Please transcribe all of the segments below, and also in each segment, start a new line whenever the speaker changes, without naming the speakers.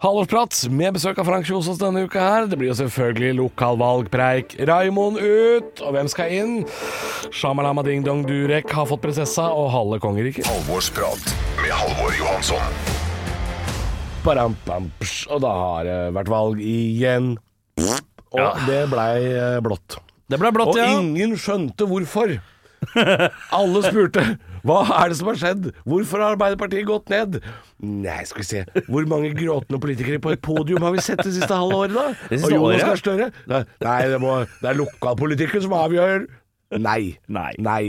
Halvårsprat med besøk av Frank Kjosås denne uka her. Det blir jo selvfølgelig lokalvalgpreik. Raimond ut, og hvem skal inn? Shamalama Ding Dong Durek har fått prinsessa og halve kongeriket.
Halvorsprat med Halvor Johansson.
Baram, bam, psj, Og da har det vært valg igjen. Og det blei eh, blått.
Det ble blått,
Og ingen skjønte hvorfor. Alle spurte hva er det som har skjedd, hvorfor har Arbeiderpartiet gått ned? Nei, skal vi se, hvor mange gråtende politikere på et podium har vi sett det siste halve året, da?
Det
Og
siste
Jonas
året?
Gahr Støre? Nei, det, må, det er lokalpolitikken som avgjør. Nei.
Nei. Nei.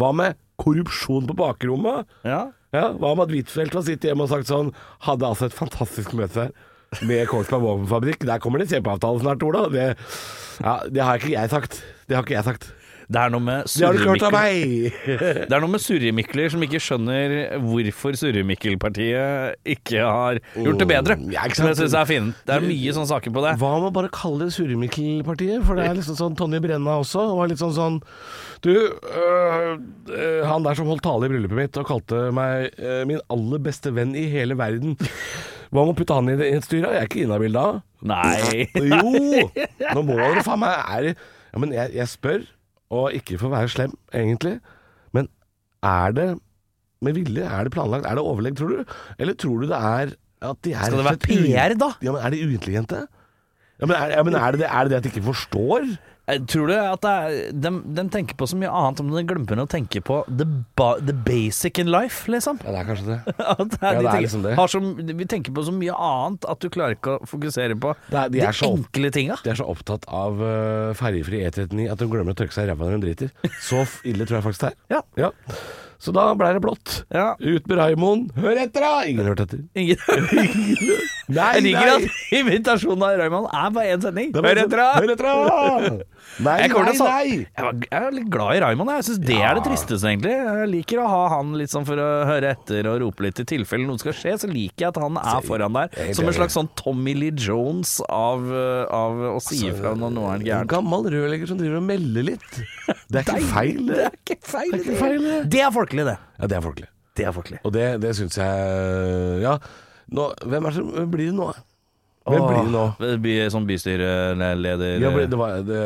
Hva med korrupsjon på bakrommet?
Ja.
Ja, Hva om at Huitfeldt har sittet hjemme og sagt sånn Hadde altså et fantastisk møte med Kongsberg våpenfabrikk. Der kommer det en kjempeavtale snart, Ola. Det, ja, det har ikke jeg sagt. Det har ikke jeg sagt.
Det er noe med
Det har du ikke hørt av
surremikler-
meg!
Det er noe med surremikler som ikke skjønner hvorfor Surremikkel-partiet ikke har gjort det bedre.
Mm, ja, ikke
som jeg
sant?
syns er fint. Det er mye sånne saker på det.
Hva om å bare kalle det Surremikkel-partiet? For det er liksom sånn Tonje Brenna også. Var litt sånn sånn Du, øh, øh, han der som holdt tale i bryllupet mitt og kalte meg øh, min aller beste venn i hele verden. Hva om å putte han i det- i et styre? Jeg er ikke inhabil da.
Nei.
Jo! Nå må dere faen meg er, det- ja, men jeg, jeg spør, og ikke for å være slem, egentlig, men er det med vilje? Er det planlagt? Er det overlegg, tror du? Eller tror du det er at de er
Skal det være
rett og slett u-
PR da?
Ja, men er de uintelligente? Ja, men, er, ja, men er, det det, er det det at de ikke forstår?
Jeg tror du at det er, de, de tenker på så mye annet, men de glemmer å tenke på the, ba, the basic in life, liksom.
Ja, det er kanskje det.
At det
Ja,
er, de
det er
tenker,
liksom det.
Har så, vi tenker på så mye annet at du klarer ikke å fokusere på
Det er- de er så-
enkle tinga.
De er så opptatt av uh, ferjefri E39 at de glemmer å tørke seg i ræva når de driter. Så f- ille tror jeg faktisk det er.
Ja.
Så da blei det blått.
Ja.
Ut med Raymond. Hør etter, da! Ingen hørte etter.
Ingen,
Nei, liksom-
jeg liker at invitasjonen av Raymond er bare én sending. Hør etter, da!
sånn- Hør etter, da! Nei,
Jeg, kommer
nei,
til å sa-
nei!
Jeg, var, jeg er litt glad i Raymond. Jeg syns det er det tristeste, egentlig. Jeg liker å ha han litt sånn for å høre etter og rope litt i tilfelle noe skal skje. Så liker jeg at han er foran der,
helt
som en
enig.
slags sånn Tommy Lee Jones av, eh, av å si
Altså,
ifra når noe er
En
gærent.
gammel rørlegger som driver og melder litt. Det er ikke feil, det.
er ikke feil,
Det er ikke feil, det.
Det er folkelig, det.
Ja, det er folkelig.
Det er folkelig.
Og det, det syns jeg Ja. Nå, hvem er det som hvem blir det nå? Hvem blir det nå?
eh, By, som bystyreleder
Ja, ble, det var, det,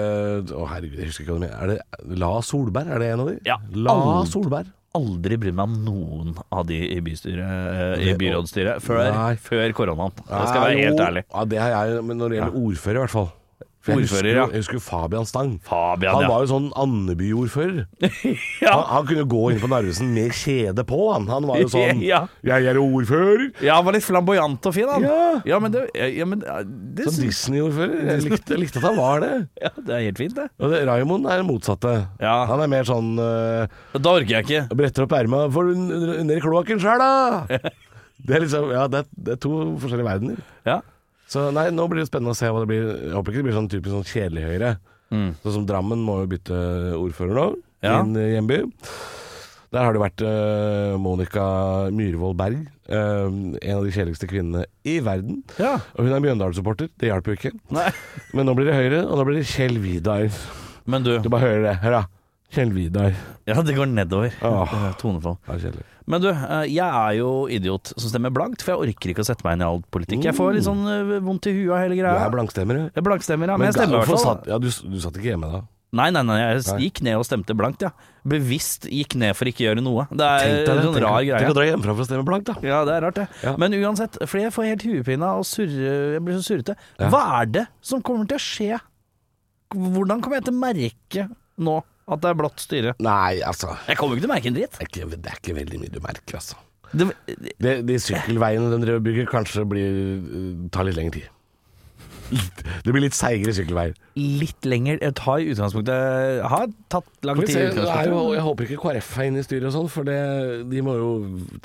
å herregud, jeg husker ikke hva det mener. Er det La Solberg? Er det en av de?
Ja.
La
Alt.
Solberg.
Aldri brydd meg om noen av de i bystyret eh, I
Det-
byrådsstyret før,
Nei.
før koronaen. Det skal jeg
Nei,
være helt
jo.
ærlig.
Ja, det har jeg, men når det gjelder ordfører, i hvert fall. For jeg husker,
Ordfører,
jo-
ja.
Jeg husker Fabian Stang.
Fabian,
han
ja.
var jo sånn Andeby-ordfører. han, han kunne gå inn på Narvesen med kjede på, han. Han var jo sånn
Ja.
'Jeg er ordfører'.
Ja, han var litt flamboyant og fin, han.
Ja.
men det, ja, men eh, det
Som
synes
Sånn Disney-ordfører. Jeg likte, jeg likte at han var det.
ja, Det er helt fint, det.
Og det, Raymond er det motsatte.
Ja.
Han er mer sånn eh,
Da orker jeg ikke.
bretter opp erma for ned i kloakken sjæl, da! Det er liksom Ja, det er, det er to forskjellige verdener.
Ja.
Så nei, nå blir det spennende å se hva det blir. Jeg håper ikke det blir sånn typisk sånn kjedelig Høyre.
Mm.
Sånn som Drammen må jo bytte ordfører nå,
Ja.
min eh, hjemby. Der har det vært eh, Monica Myhrvold Berg, eh, en av de kjedeligste kvinnene i verden.
Ja.
Og hun er Mjøndalen-supporter, det hjalp jo ikke.
Nei.
Men nå blir det Høyre, og nå blir det Kjell Vidar.
Men du,
Du bare hører det. Hør, da. Kjell Vidar.
ja, det går nedover.
Åh.
Eh, Tonefall.
Ja, kjedelig.
Men du, eh, jeg er jo idiot som stemmer blankt, for jeg orker ikke å sette meg inn i all politikk. Jeg får litt sånn eh, vondt i huet av hele
Du
greia.
er blankstemmer, du.
Jeg blankstemmer, ja. Men, jeg
ga-
stemmer i
hvorfor
hvert fall.
satt- Ja, du, s- du satt ikke hjemme da.
Nei, nei, nei, jeg gikk ned og stemte blankt, ja. Bevisst gikk ned for ikke å gjøre noe. Det er
Tenk deg
en
det.
sånn
Tenk,
rar
tenk å
greie.
dra hjemmefra for å stemme blankt, da.
Ja, det er rart, det.
Ja.
Men uansett, fordi jeg får helt huepine og surre, jeg blir så surrete.
Ja.
Hva er det som kommer til å skje? Hvordan kommer jeg til å merke nå at det er blått styre?
Nei, altså.
Jeg kommer ikke til å merke en dritt.
Det er ikke, det er ikke veldig mye du merker, altså.
Det, eh,
De, de sykkelveiene de driver og bygger, kanskje blir, eh, tar litt lengre tid. litt, det blir litt seigere sykkelveier.
Litt lenger eh, Ta i utgangspunktet Har tatt lang
Får vi
tid
se,
i
det er
utgangspunktet.
jo, jeg håper ikke KrF er inne i styret og sånn, for det, de må jo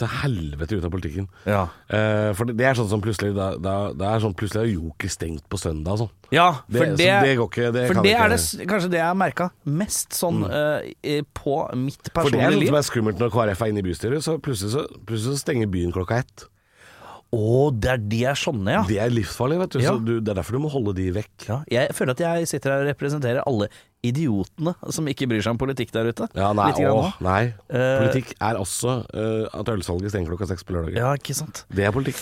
til helvete ut av politikken.
Ja.
Eh, for det, det er sånn som plutselig da, da, Det er sånn plutselig er Joker stengt på søndag og sånn.
Ja,
Det-
for
så
det,
det går ikke, det
for
kan
det
ikke- Mm.
er det, s- kanskje det jeg har merka mest sånn eh, på mitt
For det er
personlige
sånn som
liv.
er skummelt når KrF er inne i bystyret, så plutselig så, plutselig så stenger byen klokka ett.
Å, det er de er sånne, ja.
Det er livsfarlig, vet du.
Ja.
Så du. Det er derfor du må holde de vekk.
ja. Jeg føler at jeg sitter her og representerer alle idiotene som ikke bryr seg om politikk der ute.
Ja, nei,
Litt grann
åh,
nå.
nei.
Eh,
Politikk er også eh, at ølsalget stenger klokka seks på lørdager.
Ja, ikke sant.
Det er politikk.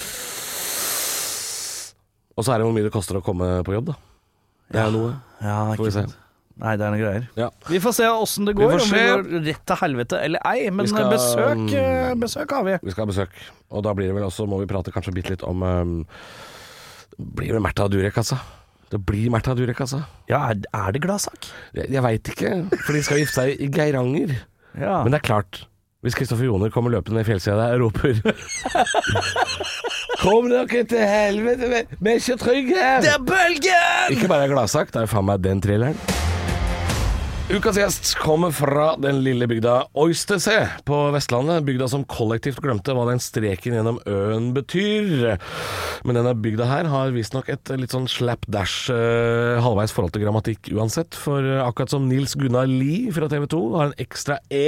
Og så er det hvor mye det koster å komme på jobb, da. Det er jo noe.
Ja,
Får vi
ikke
se.
sant. Nei, det er noen greier.
Ja.
Vi får se åssen det går,
får
om
se.
det går rett til helvete eller ei. Men
Vi skal-
besøk, eh, besøk har vi.
Vi skal ha besøk, og da blir det vel også Må vi prate kanskje bitte litt om ehm, Blir det Märtha Durek, altså? Det blir Märtha Durek, altså.
Ja, er, er det gladsak?
Jeg, jeg veit ikke, for de skal gifte seg i Geiranger.
Ja.
Men det er klart, hvis Kristoffer Joner kommer løpende ned fjellsida der og roper Kom dere til helvete, vi- vi er ikke trygge her!
er bølgen!
Ikke bare er gladsak, det er jo faen meg den thrilleren. Ukas gjest kommer fra den lille bygda Øystese på Vestlandet. Bygda som kollektivt glemte hva den streken gjennom øen betyr. Men denne bygda her har visstnok et litt sånn slapdash eh, halvveis forhold til grammatikk uansett. For eh, akkurat som Nils Gunnar Lie fra TV 2 har en ekstra E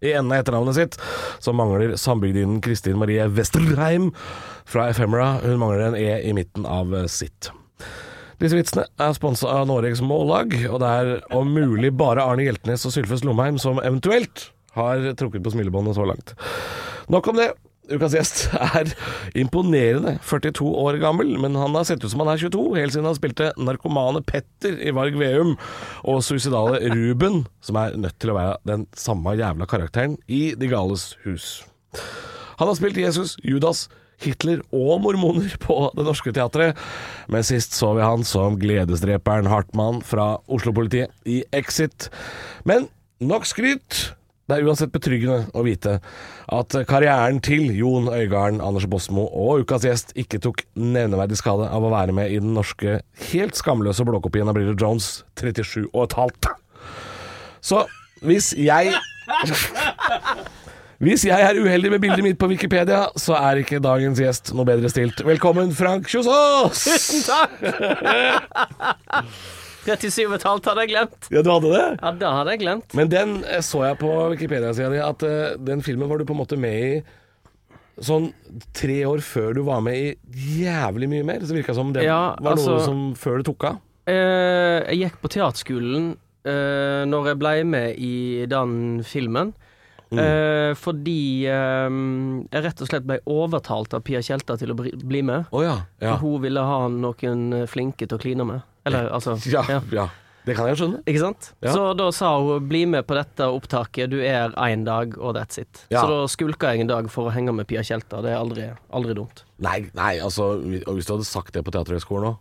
i enden av etternavnet sitt, så mangler sambygdinnen Kristin Marie Westerheim fra Ephemera. Hun mangler en E i midten av eh, sitt. Disse vitsene er sponsa av Norges Mållag, og det er om mulig bare Arne Hjeltnes og Sylfest Lomheim som eventuelt har trukket på smilebåndet så langt. Nok om det. Ukas gjest er imponerende 42 år gammel, men han har sett ut som han er 22 helt siden han spilte narkomane Petter i Varg Veum og suicidale Ruben, som er nødt til å være den samme jævla karakteren i De gales hus. Han har spilt Jesus, Judas, Hitler og mormoner på Det Norske Teatret. Men sist så vi han som gledesdreperen Hartmann fra Oslo-politiet i Exit. Men nok skryt. Det er uansett betryggende å vite at karrieren til Jon Øigarden, Anders Bosmo og ukas gjest ikke tok nevneverdig skade av å være med i den norske, helt skamløse blåkopien av Briller Jones, 37 og et halvt. Så hvis jeg hvis jeg er uheldig med bildet mitt på Wikipedia, så er ikke dagens gjest noe bedre stilt. Velkommen, Frank Kjosås! Tusen takk!
37,5 hadde jeg glemt.
Ja, du hadde det?
Ja, det hadde jeg glemt.
Men den eh, så jeg på Wikipedia-sida di, at eh, den filmen var du på en måte med i sånn tre år før du var med i jævlig mye mer. Så virka det som det
Ja,
var noe
altså-
som før det tok av.
Eh, jeg gikk på teaterskolen uh, når jeg ble med i den filmen.
Mm.
eh, fordi eh, jeg rett og slett ble overtalt av Pia Tjelta til å bli bli med.
Å ja. Ja.
For Hun ville ha noen eh, flinke til å kline med. Eller altså
ja.
ja.
Ja. Det kan jeg jo skjønne.
Ikke sant?
Ja.
Så da sa hun 'bli med på dette opptaket, du er én dag, og that's it'.
Ja.
Så da skulka jeg en dag for å henge med Pia Tjelta. Det er aldri, aldri dumt.
Nei, nei altså hvis- og hvis du hadde sagt det på Teaterhøgskolen òg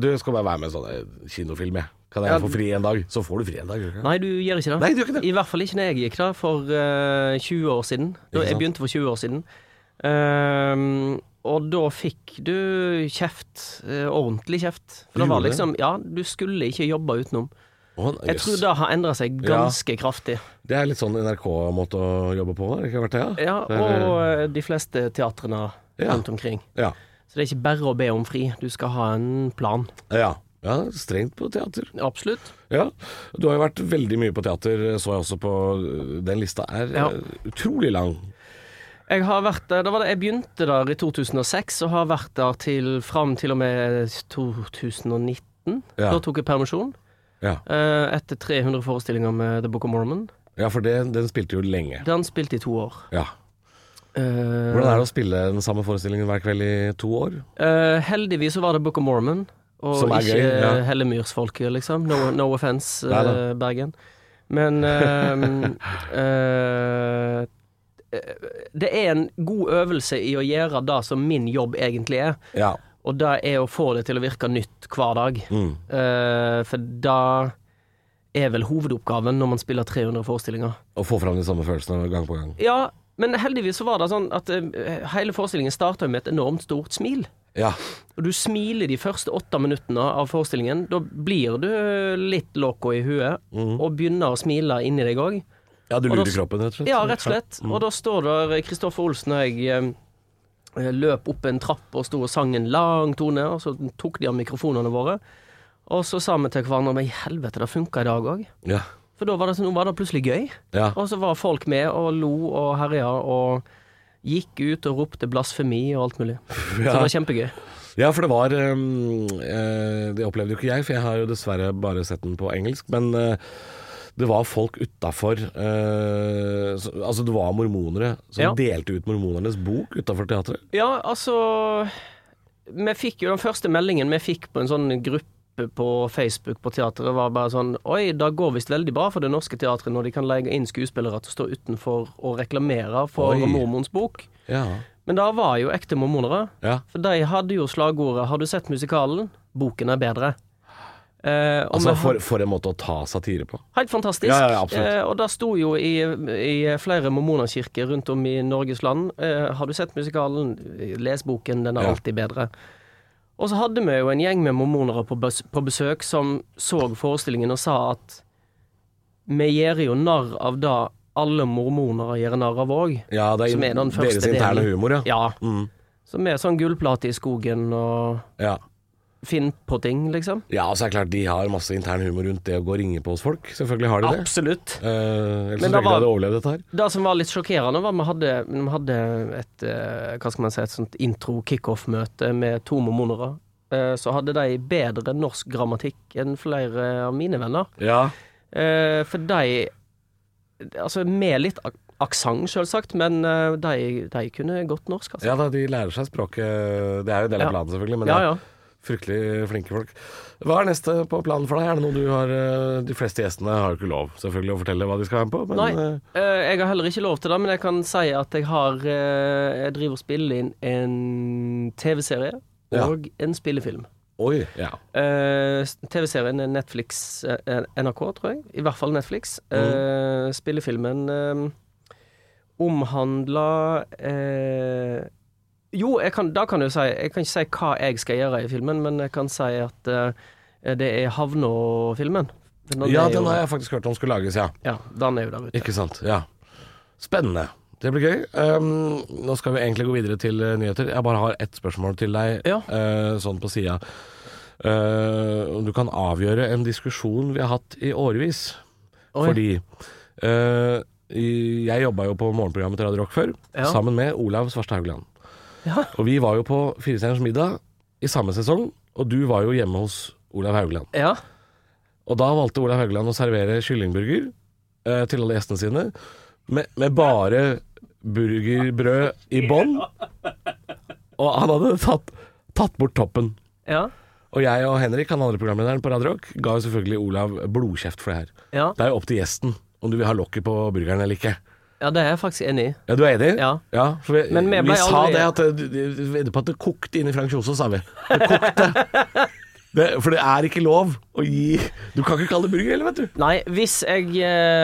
Du skal bare være med i sånn eh, kinofilm, jeg. Kan jeg
Ja.
få fri en dag? Så får du fri en dag. gjør du ikke det?
Nei, du gjør ikke det.
Nei, du gjør ikke det.
I hvert fall ikke når jeg gikk da, for eh, 20 år siden. Da,
Ikke sant?
jeg begynte for 20 år siden. Ehm, og da fikk du kjeft. eh, ordentlig kjeft. For
Du
det var
gjorde det?
liksom Ja, du skulle ikke jobbe utenom.
Å,
Jeg
jøss.
tror det har endra seg ganske kraftig.
Det er litt sånn NRK-måte å jobbe på, har det ikke vært det?
Ja,
Det er-
og eh, de fleste teatrene
Ja.
rundt omkring.
ja.
Så det er ikke bare å be om fri. Du skal ha en plan.
ja. Ja, strengt på teater.
Absolutt.
Ja. Du har jo vært veldig mye på teater, så jeg også på øh, Den lista er
Ja.
eh, utrolig lang.
Jeg har vært der, da var det, jeg begynte der i 2006 og har vært der til, fram til og med 2019.
Ja.
Da tok jeg permisjon
Ja,
eh, etter 300 forestillinger med The Book of Mormon.
ja for det, den spilte jo lenge.
Den spilte i to år.
Ja.
Eh,
Hvordan er det å spille den samme forestillingen hver kveld i to år?
eh, heldigvis så var det Book of Mormon, og
Som er
ikke
gøy, ja.
eh, Hellemyrsfolket, liksom. No, no offence,
Nei da.
Bergen. Men eh, eh, det er en god øvelse i å gjøre det som min jobb egentlig er.
Ja.
Og det er å få det til å virke nytt hver dag.
mm.
Eh, for da er vel hovedoppgaven når man spiller 300 forestillinger.
Å få fram de samme følelsene gang på gang.
Ja, men heldigvis så var det sånn at eh, hele forestillingen starta med et enormt stort smil.
Ja.
og du smiler de første åtte minuttene av forestillingen, da blir du eh, litt loco i huet, og begynner å smile inni deg òg.
ja, du
Og da
lurer
s-
kroppen, rett og slett. Mm.
Ja, rett og slett. Og da står der Kristoffer Olsen og jeg eh, løp opp en trapp og sto og sang en lang tone, og så tok de av mikrofonene våre. Og så sa vi til hverandre men i helvete, det funka i dag òg.
Ja.
For da var det, nå var det plutselig gøy.
Ja.
Og så var folk med og lo og herja og gikk ut og ropte blasfemi og alt mulig. Så det var kjempegøy.
Ja, for det var um, eh, Det opplevde jo ikke jeg, for jeg har jo dessverre bare sett den på engelsk. Men eh, det var folk utafor Altså, det var mormonere som
Ja.
delte ut mormonernes bok utafor teatret.
Ja, altså Vi fikk jo den første meldingen vi fikk på en sånn gruppe på Facebook på teatret, var bare sånn Oi, det går visst veldig bra for det norske teatret når de kan legge inn skuespillere til å stå utenfor og reklamere for
Oi.
mormons bok.
Ja.
Men det var jo ekte mormonere.
ja.
For de hadde jo slagordet 'Har du sett musikalen? Boken er bedre'. Eh, og vi
Altså,
har-
for, for en måte å ta satire på.
Helt fantastisk.
Ja, ja, absolutt.
eh, og det sto jo i, i flere mormonerkirker rundt om i Norges land. Eh, har du sett musikalen? Les boken, den er
Ja.
alltid bedre. Og så hadde vi jo en gjeng med mormonere på, bes på besøk som så forestillingen og sa at vi gjør jo narr av det alle mormonere gjør narr av òg.
Ja, det
Som er den første
deres interne
delen.
humor, ja.
Ja.
Mm.
Så med sånn gullplate i skogen og
ja.
finn på ting, liksom.
Ja, altså, det er klart De har masse intern humor rundt det å gå og ringe på hos folk. Selvfølgelig har de det.
Absolutt.
Eh, ellers
Men
ville
da
de
var-
hadde overlevd dette her.
Det som var litt sjokkerende, var at vi hadde, vi hadde et, eh, hva skal man si, et sånt intro-kickoff-møte med to mormonere. Eh, Så hadde de bedre norsk grammatikk enn flere av mine venner.
Ja.
Eh, For de Altså med litt ak- aksent, selvsagt, men eh, de, de kunne godt norsk, altså.
ja da, de lærer seg språket. Det er jo en del av
Ja.
planen, selvfølgelig. Men
Ja,
det er
ja.
Fryktelig flinke folk. Hva er neste på planen for deg? Er det noe du har eh, De fleste gjestene har jo ikke lov selvfølgelig å fortelle hva de skal være med på, men
Nei.
eh,
Eh, Jeg har heller ikke lov til det, men jeg kan si at jeg har eh, Jeg driver og spiller inn en TV-serie
Ja.
og en spillefilm.
Oi. Ja.
Eh, TV-serien er Netflix eh, NRK, tror jeg. I hvert fall Netflix.
Mm.
Eh, spillefilmen eh, omhandla eh, Jo, jeg kan, da kan jeg jo si Jeg kan ikke si hva jeg skal gjøre i filmen, men jeg kan si at eh, det er Havnå-filmen. Den
ja,
er jo-
den har jeg faktisk hørt om skulle lages, ja.
Ja, den er jo der ute.
Ikke sant. Ja. Spennende. Det blir gøy. Um, nå skal vi egentlig gå videre til eh, nyheter. Jeg bare har ett spørsmål til deg,
Ja.
eh, sånn på sida. Eh, Om du kan avgjøre en diskusjon vi har hatt i årevis.
Oi.
Fordi eh, i- jeg jobba jo på morgenprogrammet til Radio Rock før,
Ja.
sammen med Olav Svarstad Haugland.
Ja.
Og vi var jo på Firestjerners middag i samme sesong, og du var jo hjemme hos Olav Haugland.
Ja.
Og da valgte Olav Haugland å servere kyllingburger eh, til alle gjestene sine, med, med bare burgerbrød i bånn. Og han hadde tatt, tatt bort toppen.
Ja.
Og jeg og Henrik, han andre programlederen på Radio Rock, ga jo selvfølgelig Olav blodkjeft for det her.
Ja.
Det er jo opp til gjesten om du vil ha lokket på burgeren eller ikke.
ja, det er jeg faktisk enig i.
Ja, Du er enig?
Ja.
for vi,
Men vi
vi,
ble
sa
aldri-
det at eh, du- du- du vedder på at det kokte inn i Frank Kjosås, sa vi. Det kokte. Det, for det er ikke lov å gi Du kan ikke kalle det burger heller, vet du.
Nei, hvis jeg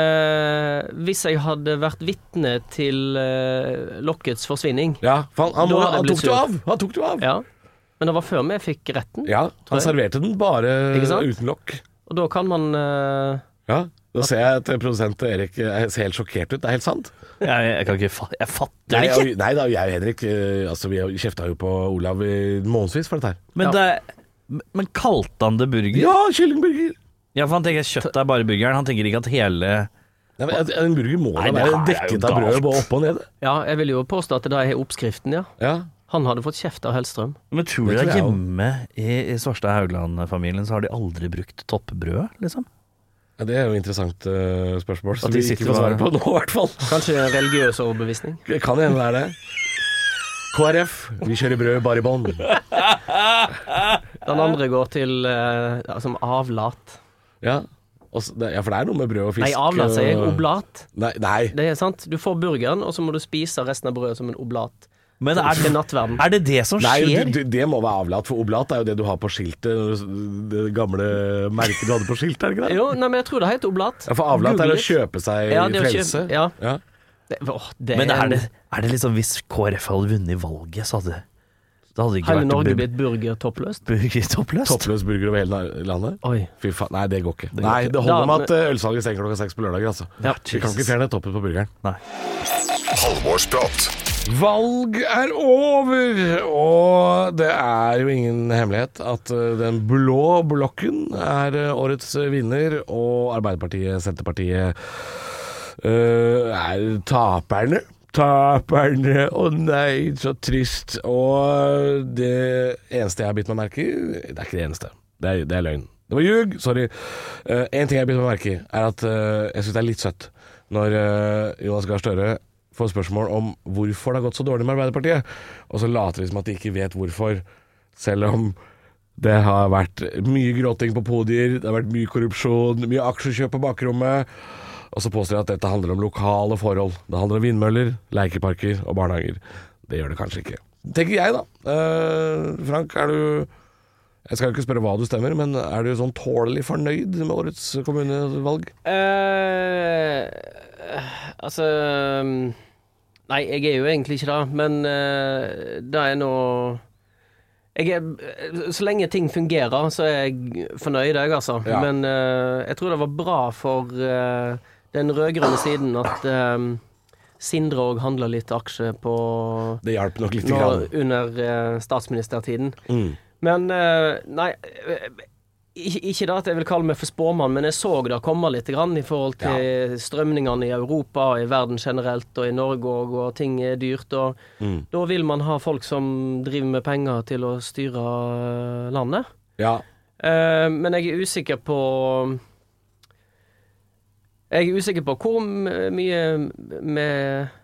eh, Hvis jeg hadde vært vitne til eh, lokkets forsvinning
Ja, for han, han,
Da
må,
hadde jeg
han
blitt
tok det jo
sur.
av! Han tok det jo av. Ja,
Ja, men det var før vi fikk retten,
Han serverte den bare
Ikke sant?
uten lokk.
og da kan man eh,
Ja, Da ser jeg at produsent Erik eh, ser helt sjokkert ut. Det er helt sant.
Jeg, jeg kan ikke fa Jeg fatter
Nei,
det ikke!
og- nei da, jeg og Henrik eh, altså, vi kjefta jo på Olav i månedsvis for dette her.
Men, det, men kalte han det burger?
Ja, kyllingburger!
Ja, for han tenker kjøtt er bare burgeren. Han tenker ikke at hele
Nei, men, eh, en burger må da
Nei, det
være
her er jo
dekket av brød
galt.
både oppe og nede.
Ja, jeg vil jo påstå at det er oppskriften, ja.
Ja.
Han hadde fått kjeft av Hellstrøm.
Men tror du
Det
det
tror
er
jeg også.
hjemme i, i Svarstad Haugland-familien så har de aldri brukt toppbrød, liksom?
Ja, Det er jo et interessant eh, spørsmål som vi
de
ikke
sitter
får svare
bare-
på nå, i hvert fall.
Kanskje en religiøs overbevisning.
Kan hende det er det. KrF, vi kjører brød bare i bånn.
Den andre går til eh, ja, som avlat.
Ja. Og så- det- ja, for det er noe med brød og fisk. eh,
Nei, avlat sier jeg.
og-
Oblat.
Nei, nei.
Det er sant. Du får burgeren, og så må du spise resten av brødet som en oblat.
Altså,
Men er,
Til nattverden.
er det det som
Nei,
skjer?
du, du, det må være avlat, for oblat er jo det du har på skiltet. Det gamle merket du hadde på skiltet, er det ikke det?
Jo, nei, men jeg tror det heter oblat.
Ja, for avlat er å
Google litt.
kjøpe seg
Ja, det å kjøpe-
frelse.
ja.
Ja.
Det, åh, det
Men
en-
er det, er det liksom hvis KrF hadde vunnet valget, så hadde Det hadde ikke
Hele
vært
Norge
bur-
blitt burgertoppløst?
burger toppløst.
Toppløs burger over hele landet?
Oi.
Fy faen, Nei, det går ikke.
går
nei,
ikke.
Det holder
Da-
med at eh, ølsalget stenger klokka seks på lørdager. Altså.
Ja,
Vi kan ikke
Jesus.
fjerne toppen på burgeren.
Halvorsprat.
Valg er over, og det er jo ingen hemmelighet at eh, den blå blokken er eh, årets eh, vinner, og Arbeiderpartiet, Senterpartiet eh, er taperne. Taperne! Å nei, så trist. Og det eneste jeg har bitt meg merke i Det er ikke det eneste. Det er, det er løgn. Det var ljug! Sorry. Eh, en ting jeg har bitt meg merke i, er at eh, jeg syns det er litt søtt når eh, Jonas Gahr Støre får spørsmål om hvorfor det har gått så dårlig med Arbeiderpartiet, og så later de som at de ikke vet hvorfor, selv om det har vært mye gråting på podier, det har vært mye korrupsjon, mye aksjekjøp på bakrommet. Og så påstår jeg at dette handler om lokale forhold. Det handler om vindmøller, lekeparker og barnehager. Det gjør det kanskje ikke. Tenker jeg, da. Eh, Frank, er du Jeg skal jo ikke spørre hva du stemmer, men er du sånn tålelig fornøyd med årets kommunevalg?
eh altså um, Nei, jeg er jo egentlig ikke det, men eh, det er nå jeg er, eh, så lenge ting fungerer, så er jeg fornøyd, jeg, altså.
Ja.
Men eh, jeg tror det var bra for eh, den rød-grønne siden at eh, Sindre òg handla litt aksjer på
Det hjalp nok lite
nå,
grann.
under eh, statsministertiden.
Mm.
Men eh, nei eh, ikke, ikke det at jeg vil kalle meg for spåmann, men jeg så det komme litt grann i forhold til strømningene i Europa og i verden generelt, og i Norge òg, og ting er dyrt. Og
Mm.
da vil man ha folk som driver med penger til å styre eh, landet.
Ja.
Eh, men jeg er usikker på Jeg er usikker på hvor m- mye med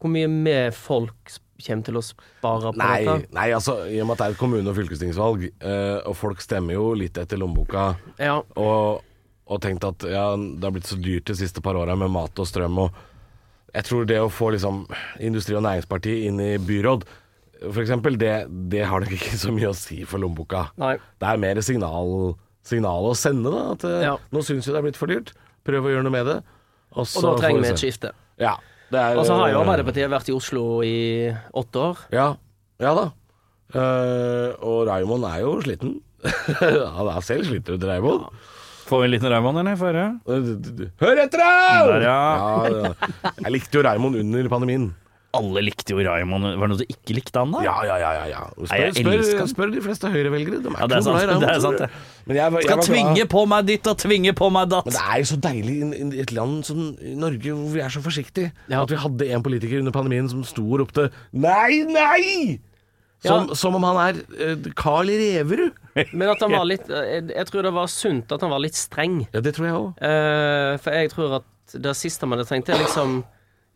Hvor mye med folk s- kommer til å spare på
Nei,
dette.
nei, altså i og med at det er et kommune- og fylkestingsvalg, eh, og folk stemmer jo litt etter lommeboka,
Ja.
og, og tenkt at ja, det har blitt så dyrt de siste par åra med mat og strøm og Jeg tror det å få liksom Industri- og Næringspartiet inn i byråd, f.eks., det, det har nok ikke så mye å si for lommeboka.
Nei.
Det er mer signal, signal å sende, da. At eh,
Ja.
nå syns vi det er blitt for dyrt, prøv å gjøre noe med det.
Og da
så får
trenger vi
se.
et skifte.
Ja. Det er,
Og så har jo
eh,
Arbeiderpartiet vært i Oslo i åtte år.
Ja, ja da. Eh, og Raymond er jo sliten. Han er selv sliten, vet du, Raymond.
Får vi en liten Raymond, eller? Får jeg høre?
Hør etter, da!
Der, ja.
Ja, ja. Jeg likte jo Raymond under pandemien.
Alle likte jo Raymond. Var det noe du ikke likte han, da?
Ja, ja, ja. ja, ja. Spør,
Nei, jeg
spør,
elsker han.
spør de fleste høyrevelgere. De er
Ja, det er
ikke noe glad i
sant, det
Raymond,
er
tror
sant,
du?
det.
Men jeg var- jeg
Skal
var glad.
tvinge på meg ditt og tvinge på meg datt.
Men det er jo så deilig i- i i et land som Norge, hvor vi er så forsiktige.
Ja.
At vi hadde en politiker under pandemien som sto og ropte 'nei, nei!' Som,
Ja.
som om han er eh, Carl Reverud.
Men at han var litt Jeg, jeg tror det var sunt at han var litt streng.
Ja, det tror jeg òg.
Eh, for jeg tror at det siste man hadde trengt, er liksom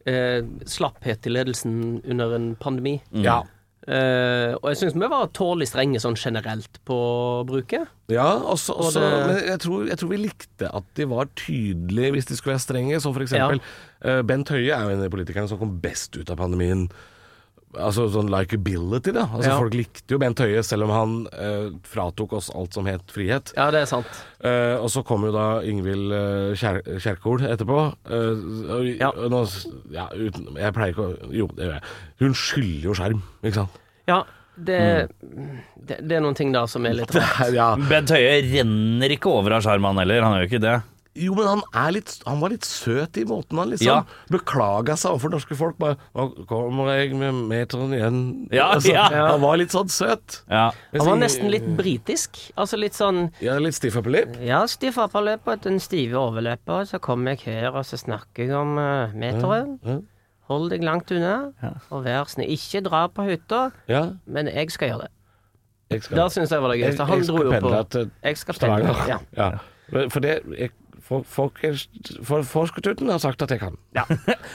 eh, slapphet i ledelsen under en pandemi.
Mm.
Ja.
Eh, og jeg syns vi var tålelig strenge sånn generelt på bruket.
Ja, også, også,
det-
men jeg tror, jeg tror vi likte at de var tydelige hvis de skulle være strenge. Så for eksempel, eh, Bent Høie er jo en av de politikerne som kom best ut av pandemien. Altså sånn likeability, da. Altså,
Ja.
Folk likte jo Bent Høie, selv om han eh, fratok oss alt som het frihet.
Ja, det er sant.
Eh, og så kom jo da Ingvild eh, Kjer Kjerkol etterpå. Eh, og,
Ja.
og nå, s- ja, uten, jeg pleier ikke å Jo, det gjør jeg. Hun skylder jo skjerm, ikke sant?
Ja, det, det, det er noen ting der som er litt rart.
Ja.
Bent Høie renner ikke over av skjermen han heller, han gjør ikke det.
Jo, men han, er litt, han var litt søt i måten han liksom
Ja.
beklaga seg overfor norske folk. Bare 'Nå kommer jeg med meteren igjen'.
Ja, ja.
Han var litt sånn søt.
Ja.
Han var nesten litt britisk. Altså litt sånn
Ja, litt stiff upper lip.
Ja, stiff apperløper, den stive overløper, så kommer jeg her og så snakker jeg om eh, meteren. Hold deg langt unna, og vær snill. Ikke dra på hytta,
Ja,
men jeg skal gjøre det.
jeg
Det
skal
syns jeg var det
Jeg-
gøyeste. Han
jeg
dro
skal
jo på
pendle til
Jeg skal pendle.
Stavanger.
Ja.
Ja. Men For det jeg, for- folk er- for- Forskertuten har sagt at jeg kan.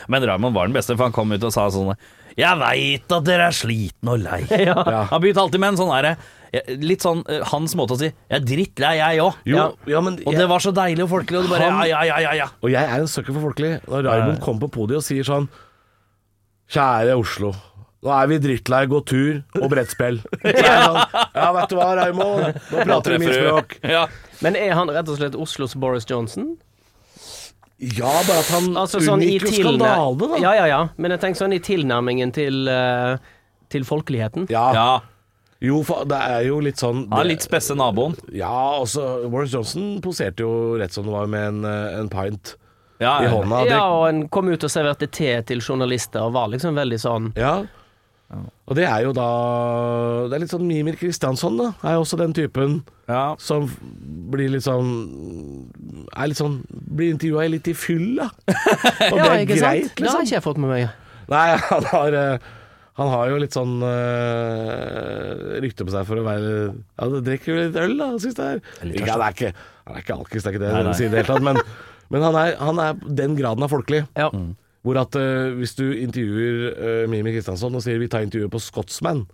Men Raymond var den beste, for han kom ut og sa sånn Jeg veit at dere er slitne og lei. Han begynte alltid med en sånn herre Litt sånn eh, hans måte å si Jeg er drittlei, jeg òg.
Jo,
Ja.
ja, men
Og
jeg-
det var så deilig og folkelig, og det bare
Han-
Ja, ja, ja, ja. ja.
Og jeg er en søkker for folkelig. Når Raymond kommer på podiet og sier sånn Kjære Oslo. Nå er vi drittlei gå tur og brettspill. Så er jeg Sånn, ja, vet du hva, Raymond. Nå prater du mitt språk.
Ja.
Men er han rett og slett Oslos Boris Johnson?
Ja, bare at han
Altså sånn i
unngikk jo
tilnær-
skandale, da.
Ja, ja, ja. Men jeg tenker sånn i tilnærmingen til eh, til folkeligheten.
Ja.
Ja,
Jo, for det er jo litt sånn
han er litt spesse naboen.
Ja, også Boris Johnson poserte jo rett som det var med en, eh, en pint
Ja,
i
ja.
hånda. Det-
Ja, og en kom ut og serverte te til journalister og var liksom veldig sånn
Ja. Og det er jo da Det er litt sånn Mimir Kristiansson, da. Er jo også den typen
ja.
som f- blir litt sånn Er litt sånn Blir intervjua litt i fyll, da. Og
Ja,
det er
ikke sant?
greit,
Det har
liksom.
ikke jeg fått med meg.
Nei, han har eh, han har jo litt sånn eh, rykte på seg for å være Ja, det drikker jo litt øl, da, syns jeg. Ikke, han, er ikke, han er ikke alkis, det er ikke det jeg vil si i det hele tatt, men, men han, er, han er den graden av folkelig.
Ja.
Hvor at eh, hvis du intervjuer eh, Mimi Kristiansson og sier vi tar intervjuet på Scotsman,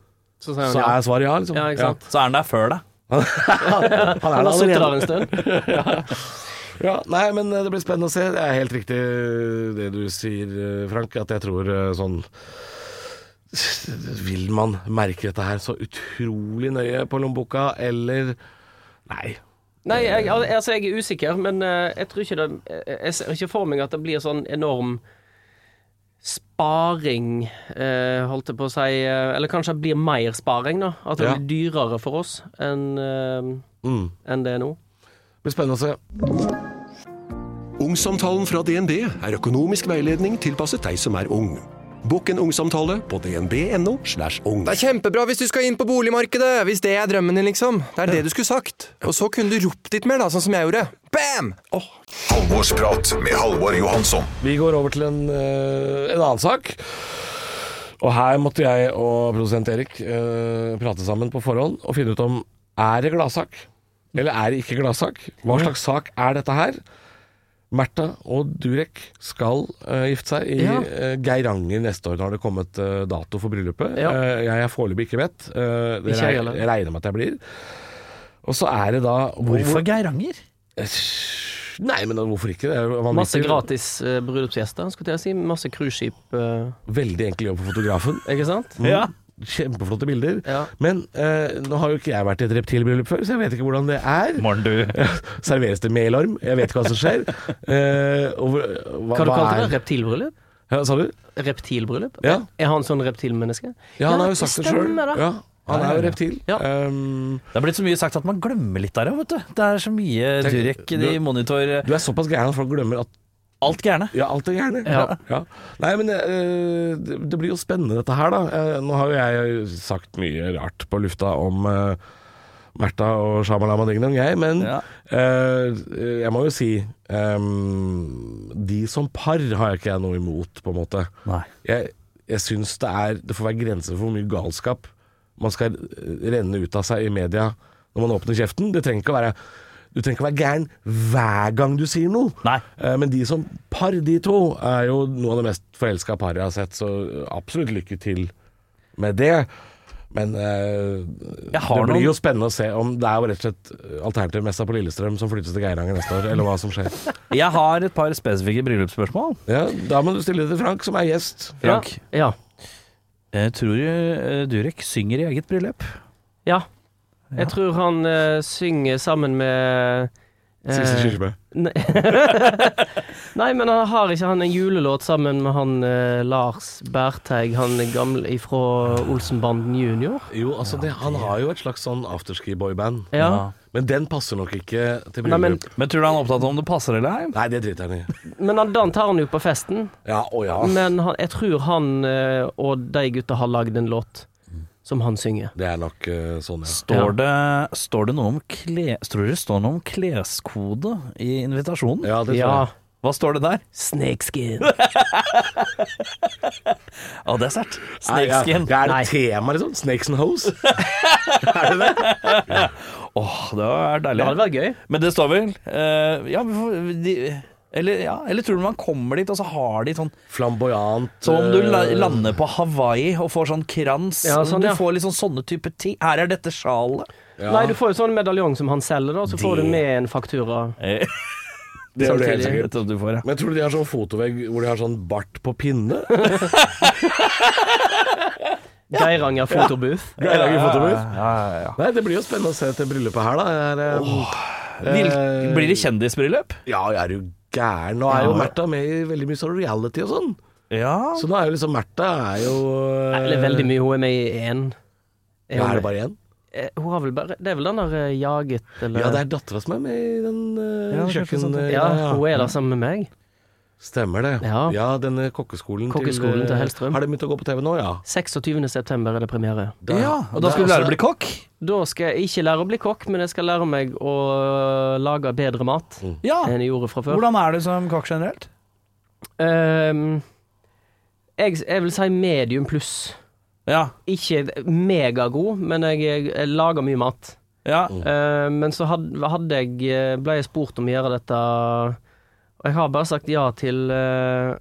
Så
så
sier han ja.
er svaret ja, liksom.
Ja, ikke sant?
Så er han der før deg.
Ja, han er
Han
det
har sittet der
allerede.
en stund.
Ja, nei, men eh, det blir spennende å se. Det er helt riktig det du sier, eh, Frank, at jeg tror eh, sånn Vil man merke dette her så utrolig nøye på lommeboka, eller Nei.
Nei, jeg, al- altså jeg er usikker, men eh, jeg tror ikke det Jeg jeg ser ikke for meg at det blir sånn enorm sparing, eh, holdt jeg på å si. eh, Eller kanskje det blir mer sparing, da. At det
Ja.
blir dyrere for oss enn eh,
Mm.
enn det er nå.
Det blir spennende å se.
Ungsamtalen fra DNB er økonomisk veiledning tilpasset deg som er ung. Bokk en ungsamtale på dnb.no. slash ung.
Det er kjempebra hvis du skal inn på boligmarkedet, hvis det er drømmen din, liksom. Det er det du skulle sagt. Og så kunne du ropt litt mer, da, sånn som jeg gjorde. Bam! Åh,
Halvorsprat med Halvor Johansson.
Vi går over til en, eh, en annen sak. Og her måtte jeg og produsent Erik eh, prate sammen på forhånd og finne ut om er det gladsak, eller er det ikke gladsak? Hva slags sak er dette her? Märtha og Durek skal eh, gifte seg i
Ja.
eh, Geiranger neste år. Nå har det kommet eh, dato for bryllupet.
Ja.
Eh, jeg er foreløpig ikke bedt. Eh, det
Ikke jeg
reg-
heller.
jeg regner med at jeg blir. Og så er det da
Hvorfor Geiranger?
Nei, men hvorfor ikke? Det er jo vanvittig.
Masse gratis eh, bryllupsgjester, skulle jeg si. Masse cruiseskip, eh,
Veldig enkel jobb for fotografen.
ikke sant?
Ja.
Kjempeflotte bilder.
Ja.
Men eh, nå har jo ikke jeg vært i et reptilbryllup før, så jeg vet ikke hvordan det er.
Morn, du.
Serveres det melorm? Jeg vet ikke hva som skjer. Eh, og, hvor- hva,
Hva du kalte
hva
det?
er-
Reptilbryllup?
Ja, sa du?
Reptilbryllup?
Ja.
Er han sånn reptilmenneske?
Ja, han har jo sagt det sjøl.
stemmer, da.
Ja, han er jo reptil.
Ja.
Um,
Det er blitt så mye sagt at man glemmer litt der, vet du. Det er så mye
Tenk-
Durek i
du-
monitor.
du er såpass gæren at folk glemmer at
Alt gærne.
Ja, alt er gærent.
Ja.
Nei, men eh, det, det blir jo spennende dette her, da. Eh, nå har jo jeg sagt mye rart på lufta om uh, Märtha og Shamalama Dingdong, jeg, men
Ja.
eh, jeg må jo si ehm, De som par har jeg ikke jeg noe imot, på en måte.
Nei.
Jeg, jeg syns det er Det får være grenser for hvor mye galskap man skal eh, renne ut av seg i media når man åpner kjeften. Det trenger ikke å være du trenger ikke å være gæren hver gang du sier noe.
Nei.
Eh, Men de som par, de to, er jo noe av det mest forelska paret jeg har sett, så absolutt lykke til med det. Men eh, det
Jeg har
blir
noen-
jo spennende å se om det er jo rett og slett alternativmessa på Lillestrøm som flyttes til Geiranger neste år, eller hva som skjer.
Jeg har et par spesifikke bryllupsspørsmål.
Ja, da må du stille det til Frank, som er gjest.
Frank.
Ja.
Jeg tror eh, Durek synger i eget bryllup.
Ja. Jeg tror han eh, synger sammen med eh, Nei, men han har ikke han en julelåt sammen med han eh, Lars Berteig, han gamle ifra Olsenbanden junior?
Jo, altså det, han har jo et slags sånn afterski-boyband.
Ja.
Men den passer nok ikke til
Nei, men,
bryllup.
Men tror du han er opptatt av om det passer eller ei?
Nei, det driter han i.
men han, den tar han jo på festen.
Ja, å ja.
Men han, jeg tror han eh, og de gutta har lagd en låt som han synger.
Det er nok eh, sånn, ja.
Står, det, står det noe om kle, Tror dere det står noe om kleskode i invitasjonen?
Ja, det tror
Ja.
jeg.
Hva står det der?
Snakeskin.
Å, det er sært.
Nei, ja.
Snakeskin.
Det er
Nei.
et tema, liksom. Snakes and hoes. er det det?
Åh, det er
Det
deilig.
hadde vært gøy.
Men det står vel eh, Ja, vi får- de, eller, ja, eller tror du man kommer dit, og så har de sånn
Flamboyant.
Som om du la
eh,
lander på Hawaii og får sånn krans.
Ja, sånn,
du
ja.
får liksom sånne type ting. Her er dette sjalet.
Nei, du får jo sånn medaljong som han selger, da. Så får du med en faktura.
Eh,
Det gjør du helt
samtidig.
sikkert.
Dette du får, ja.
Men tror du de har sånn fotovegg hvor de har sånn bart på pinne?
Geiranger fotobooth.
Greier jeg ikke fotobooth?
Ja, ja, ja.
Nei, det blir jo spennende å se til bryllupet her, da. Jeg er, eh,
Vil, blir det kjendisbryllup?
Ja, jeg er jo gæren. Nå er jo Märtha med i veldig mye sånn reality og sånn.
Ja.
Så da er jo liksom Märtha er jo eh,
Eller veldig mye. Hun er med i én. Er
Ja,
hun
er det
med?
bare én?
Eh, Hun har vel bare Det er vel den der eh, Jaget, eller
Ja, det er dattera som er med i den uh,
Ja, kanskje
kjøkken...
sånn.
eh,
Ja,
ja.
hun er der sammen med meg.
Stemmer det. Ja,
Ja.
denne kokkeskolen,
Kokkeskolen til
eh,
Hellstrøm.
Har den begynt å gå på TV nå? Ja.
26. september er det premiere.
Der.
ja. Og da
Der
skal du lære
også-
å bli kokk?
Da skal jeg ikke lære å bli kokk, men jeg skal lære meg å eh, lage bedre mat
Ja.
Ah.
enn jeg gjorde fra før.
Hvordan er du som kokk generelt?
Ehm, jeg, jeg vil si medium pluss.
Ja.
Ikke megagod, men jeg, jeg, jeg lager mye mat.
ja.
Ehm, men så hadde, hadde jeg eh, ble jeg spurt om å gjøre dette Og jeg har bare sagt ja til eh,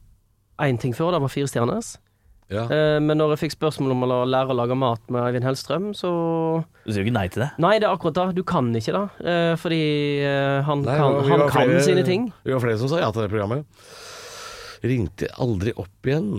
én ting før, det var fire stjerners.
Ja.
Eh, men når jeg fikk spørsmål om å la- lære å lage mat med Eivind Hellstrøm, så
Du sier jo ikke nei til det.
Nei, det er akkurat det. Du kan ikke det. eh, fordi eh, han
Nei,
kan,
og vi
han
var
kan
flere-
sine ting.
Vi var flere som sa ja til det programmet. Ringte aldri opp igjen.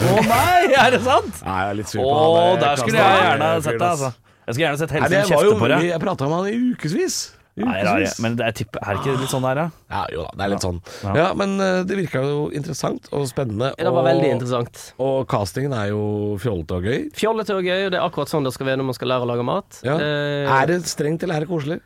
Å nei, er det sant?
Nei, jeg er litt sur
Å,
på han. eh,
der skulle jeg gjerne ha sett deg, altså. Jeg skulle gjerne sett
Nei, det
Hellstrøm
var
kjefte
jo,
på deg.
jeg prata med han i ukevis. I
Nei, rar, jeg.
ukevis.
men det er, typ, er det ikke litt sånn der, da?
Ja, jo da, det er litt sånn.
Ja.
Ja, men eh, det virka jo interessant og spennende.
Det var veldig interessant.
Og castingen er jo fjollete og gøy.
Fjollete og gøy, og det er akkurat sånn det skal være når man skal lære å lage mat.
Ja.
Eh,
Er det strengt, eller er det koselig?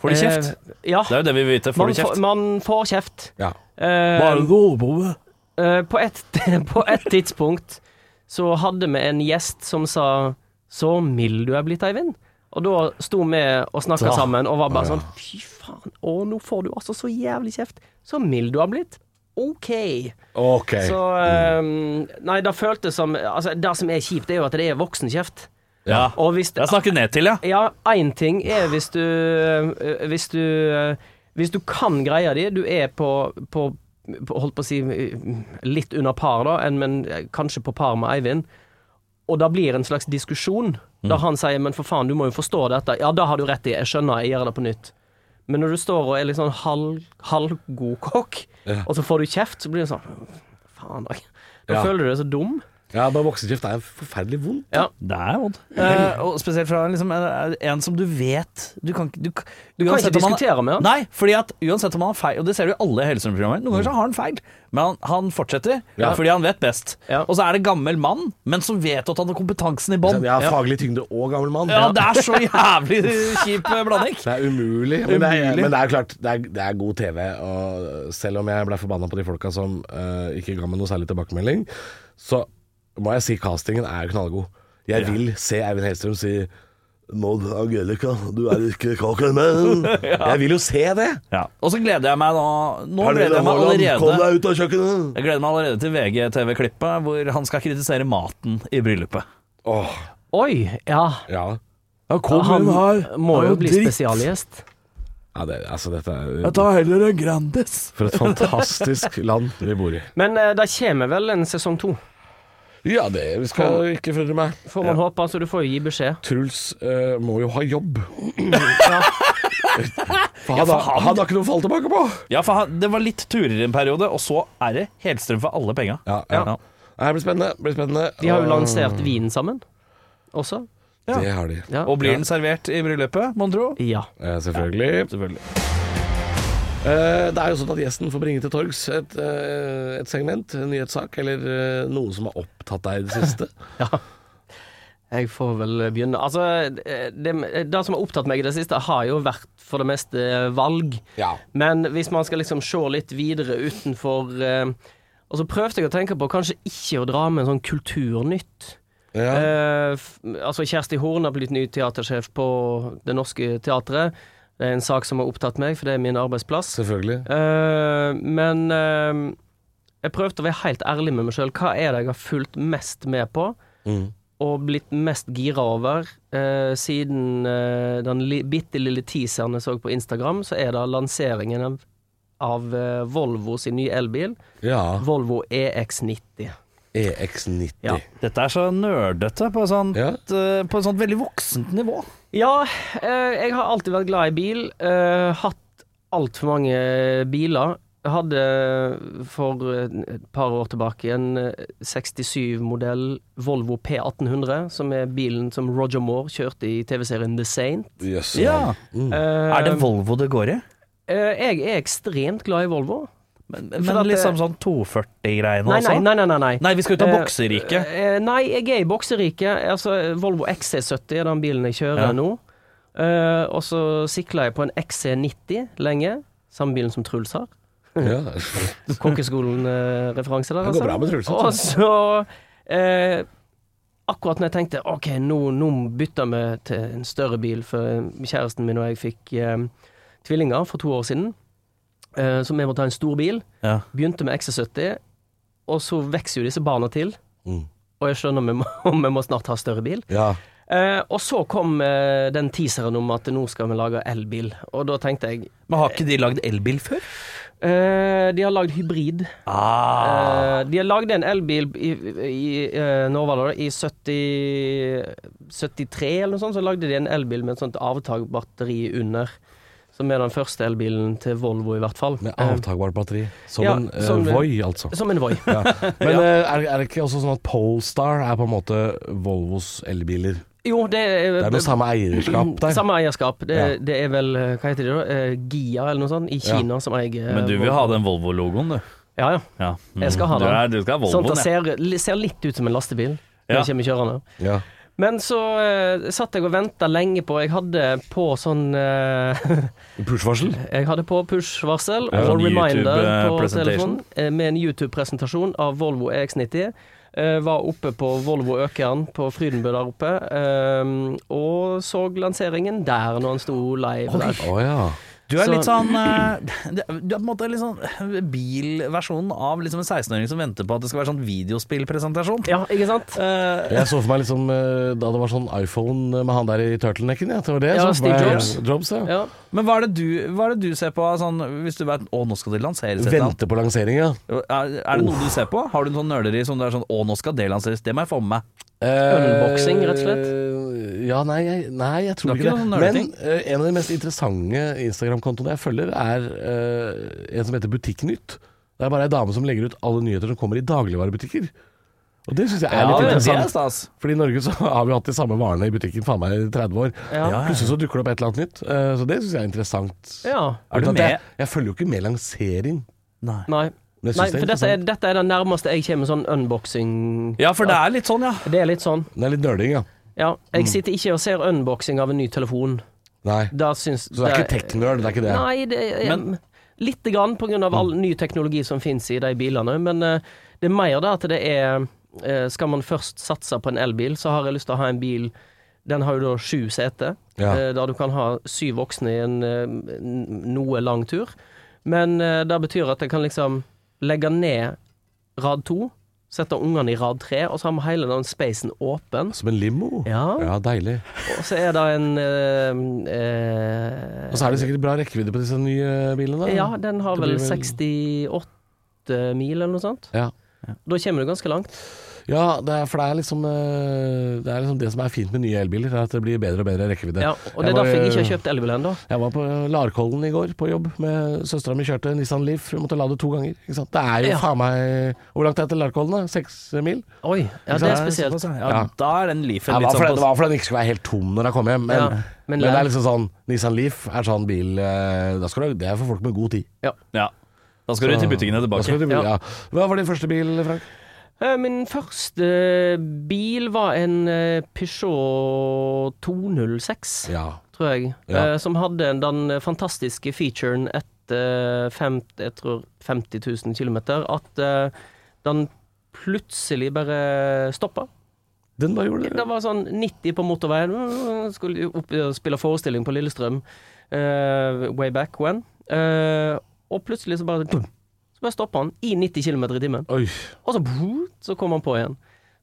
Får du kjeft?
eh, ja.
Det er jo det vi vil vite. Får
Man,
du
får-
kjeft?
man får kjeft.
Ja.
Eh,
gå over.
eh, på, et, på et tidspunkt så hadde vi en gjest som sa 'Så mild du er blitt, Eivind'. Og da sto vi og snakka sammen og var bare sånn 'Fy faen, å, nå får du altså så jævlig kjeft'. Så mild du har blitt. OK.
Ok.
Så eh, Nei, det føltes som Altså, det som er kjipt, er jo at det er voksenkjeft.
Ja.
Og hvis
Jeg snakker ned til, ja.
Ja, én ting er hvis du øh, Hvis du øh, Hvis du kan greia di, du er på, på, på Holdt på å si øh, litt under par, da, enn- men øh, kanskje på par med Eivind. Og det blir en slags diskusjon,
Mm.
da han sier 'men for faen, du må jo forstå dette'. Ja, da har du rett i, jeg skjønner, jeg gjør det på nytt. Men når du står og er litt sånn halv, halvgod kokk, og så får du kjeft, så blir det sånn Faen, da. Da
Ja.
føler du deg så dum.
Ja, men voksenkjeft er forferdelig vondt.
Det er vondt. Eh, og spesielt fra liksom, eh, en som du vet Du kan, ikke- du, du
kan ikke diskutere med han.
Nei, fordi at uansett om han har feil, og det ser du i alle Hellstrøm-programmer, noen ganger så har han feil, men han, han fortsetter
Ja.
fordi han vet best.
Ja.
Og så er det gammel mann, men som vet at han har kompetansen i bånn.
Jeg har faglig tyngde og gammel mann.
Ja, det er så jævlig kjip eh, blanding.
Det er umulig. Men, Det, er,
Umulig.
men det er klart, det er, det er god TV. Og selv om jeg ble forbanna på de folka som eh, ikke ga meg noe særlig tilbakemelding, så må jeg si castingen er knallgod. Jeg vil se Eivind Hellstrøm si Maud Angelica, du er ikke kaken min. Jeg vil jo se det!
Og så gleder jeg meg nå Nå gleder
Pernille Haaland,
jeg meg
Kom
allerede
deg ut av kjøkkenet!
jeg gleder meg allerede til VGTV-klippet hvor han skal kritisere maten i bryllupet.
Åh,
Oi, ja.
ja.
Han må jo bli spesialgjest.
ja det, altså, dette
Jeg
er
tar heller en Grandis.
For et fantastisk land vi bor i.
Men eh, det kommer vel en sesong to,
Ja, det skal ikke forundre meg.
får man håpe. Altså, du får jo gi beskjed.
Truls eh, må jo ha jobb. For han, har- han har ikke noe å falle tilbake på.
Ja, for han, det var litt turer i en periode, og så er det Helstrøm for alle penga.
Ja, ja. Nei, det blir spennende. det Blir spennende.
De har jo
Ah.
Og-
lansert vinen sammen også.
Det har de.
Ja.
Og blir den servert i bryllupet, mon tro?
Ja.
Eh, selvfølgelig.
Selvfølgelig.
Eh, det er jo sånn at gjesten får bringe til torgs et, eh, et segment, en nyhetssak, eller eh, noe som har opptatt deg i det siste.
Jeg får vel begynne. Altså, eh, det, det som har opptatt meg i det siste, har jo vært for det meste eh, valg.
ja.
Men hvis man skal liksom se litt videre utenfor eh, Og så prøvde jeg å tenke på kanskje ikke å dra med en sånn kulturnytt.
ja.
Eh, f- altså Kjersti Horn har blitt ny teatersjef på Det Norske Teatret. Det er en sak som har opptatt meg, for det er min arbeidsplass.
Selvfølgelig.
Eh, men eh, jeg prøvde å være helt ærlig med meg sjøl. Hva er det jeg har fulgt mest med på,
Mm.
og blitt mest gira over? Eh, siden eh, den li bitte lille teaseren jeg så på Instagram, så er det lanseringen av, av eh, Volvo sin nye elbil.
Ja.
Volvo E EX90.
E EX90. Ja.
Ja.
Dette er så nerdete på et sånt,
Ja.
eh, på et sånt veldig voksent nivå.
Ja, eh, jeg har alltid vært glad i bil. Eh, hatt altfor mange biler. Jeg hadde eh, for et par år tilbake en 67-modell Volvo P1800, som er bilen som Roger Moore kjørte i TV-serien The Saint.
Yes.
Ja.
Mm.
Eh,
Er det Volvo det går i?
eh, jeg er ekstremt glad i Volvo.
Men,
For
men
at det-
liksom sånn 240-greiene
Nei,
også?
nei, nei. nei, nei, nei.
sånn. Nei, vi skal ut av
Eh,
bokseriket.
Eh, nei, jeg er i bokseriket. Altså, Volvo XC70 er den bilen jeg kjører
Ja.
nå. Eh, og så sikla jeg på en XC90 lenge. Samme bilen som Truls har.
Ja.
Kokkeskolen-referanse der, altså.
Det går bra med Truls,
Og så eh, Akkurat når jeg tenkte OK, nå, nå bytter vi til en større bil, for kjæresten min og jeg fikk eh, tvillinger for to år siden, eh, så vi måtte ha en stor bil.
Ja.
Begynte med XC70, og så vokser jo disse barna til.
Mm.
Og jeg skjønner vi må, vi må snart ha større bil.
ja.
Eh, og så kom eh, den teaseren om at nå skal vi lage elbil, og da tenkte jeg
Men har ikke de lagd elbil før?
eh, De har lagd hybrid.
Ah.
Eh, de har lagd en elbil i, i eh, når var det, da? i 70, 73 eller noe sånt. Så lagde de en elbil med et sånt avtakbatteri under. Som er den første elbilen til Volvo, i hvert fall.
Med
Eh,
avtakbart batteri. Som
Ja,
en uh,
som-
Voi, altså.
som en Voi.
Ja. Men eh, er, er det ikke også sånn at Polestar er på en måte Volvos elbiler?
Jo, det er,
Det er noe samme eierskap der.
Eh, Samme eierskap. Det,
Ja.
det er vel eh, Hva heter det da? Eh, Gia, eller noe sånt, i
Ja.
Kina, som eier eh,
Men du vil
Volvo.
ha den Volvo-logoen, du.
Ja, ja.
Ja. Mm.
Jeg skal ha
Du,
den.
er, du skal ha
Sånn at
Volvoen,
det
ja.
ser, li- ser litt ut som en lastebil.
Ja.
Når jeg kommer kjørende.
Ja.
Men så eh, satt jeg og venta lenge på Jeg hadde på sånn eh,
Push-varsel?
Jeg hadde på push-varsel
Ja,
og
sånn
reminder
YouTube, eh,
på
presentation.
telefonen eh, med en YouTube-presentasjon av Volvo EX90. Eh, var oppe på Volvo Økern på Frydenbø der oppe, eh, og så lanseringen der når han sto live der.
Å ja.
Du er
Så-
litt sånn eh, det- Du er på en måte litt sånn bilversjonen av liksom en 16-åring som venter på at det skal være sånn videospillpresentasjon.
Ja, ikke sant?
Eh,
Jeg så for meg liksom eh, da det var sånn iPhone med han der i turtlenecken. Ja. Det var det jeg
Ja,
så for
Steve
meg.
Jobs.
ja.
Ja.
men hva er, det du, hva er det du ser på av sånn, hvis du vet Å, nå skal det lanseres et eller annet.
Vente på lanseringa.
Er, er det noe du ser på? Har du noen nøleri som du er sånn Å, nå skal det lanseres, det må jeg få med meg.
Unboxing, rett og
Eh, Ja, nei, jeg, nei, jeg tror
Det er
ikke
ikke
det.
noen
Men
nøleting.
eh, en av de mest interessante Instagram-kontoene jeg følger, er eh, en som heter Butikknytt. Det er bare ei dame som legger ut alle nyheter som kommer i dagligvarebutikker. Og det syns jeg er
Ja,
litt
det- det er
interessant.
stas.
Fordi i Norge så har vi hatt de samme varene i butikken faen meg i 30 år.
Ja.
Plutselig så dukker det opp et eller annet nytt. eh, Så det syns jeg er interessant.
ja.
Er du
Utan at Jeg,
med?
jeg følger jo ikke med lansering.
Nei.
Nei.
Men jeg
Nei,
synes det er
for dette er,
interessant.
dette er det nærmeste jeg kommer sånn unboxing
Ja, for det er litt sånn, ja.
Det er litt sånn.
Det er litt nerding, ja.
Ja.
Mm.
Jeg sitter ikke og ser unboxing av en ny telefon.
Nei.
Da syns
Så det er ikke tech-nerd, det er Mm. ikke det.
Nei, det er
Men-
lite grann pga. all ny teknologi som finnes i de bilene, men eh, det er mer det at det er eh, Skal man først satse på en elbil, så har jeg lyst til å ha en bil Den har jo da sju seter,
Ja.
eh, der du kan ha syv voksne i en eh, n- noe lang tur. Men eh, det betyr at jeg kan liksom legge ned rad to, sette ungene i rad tre, og så har vi hele den spacen åpen.
Som en limo.
Ja.
ja, deilig.
Og så er det en eh, eh,
Og så er det sikkert bra rekkevidde på disse nye eh, bilene. da.
Ja, den har
Det
vel
blir vel-
68 mil eller noe sånt.
Ja.
Da kommer du ganske langt.
ja det er, for det er, liksom, eh, det er liksom det som er fint med nye elbiler, er at det blir bedre og bedre rekkevidde.
Ja, og
Jeg
det er
var-
derfor jeg ikke har kjøpt elbil ennå.
Jeg var på Larkollen i går på jobb med søstera mi kjørte en Nissan Leaf. Hun måtte lade to ganger. Ikke sant? Det er jo
Ja.
faen meg Hvor langt er det til Larkollen? da? Seks mil?
Oi, ja, det er spesielt.
Ja,
Ja.
Da er den
Ja,
Leafen
det,
litt
var fordi,
sånn
det
på
var fordi den ikke skulle være helt tom når jeg kom hjem. Men,
Ja,
men,
men
det
lær-
er liksom sånn Nissan Leaf er sånn bil eh, da skal du, Det er for folk med god tid.
Ja. Da skal du til butikkene
Da skal
tilbake.
du,
Ja.
ja. Hva var din første bil, Frank?
Eh, Min første bil var en eh, Peugeot 206,
Ja.
tror jeg.
Ja.
eh, Som hadde den fantastiske featuren etter fem, jeg tror 50 000 km, at eh, den plutselig bare stoppa.
Den bare gjorde
Det var sånn 90 på motorveien. Mm, Skulle opp og spille forestilling på Lillestrøm eh, way back when. Eh, og plutselig så bare dum, Så bare stoppa han i 90 km i timen.
Oi.
Og så, brrr, så kom han på igjen.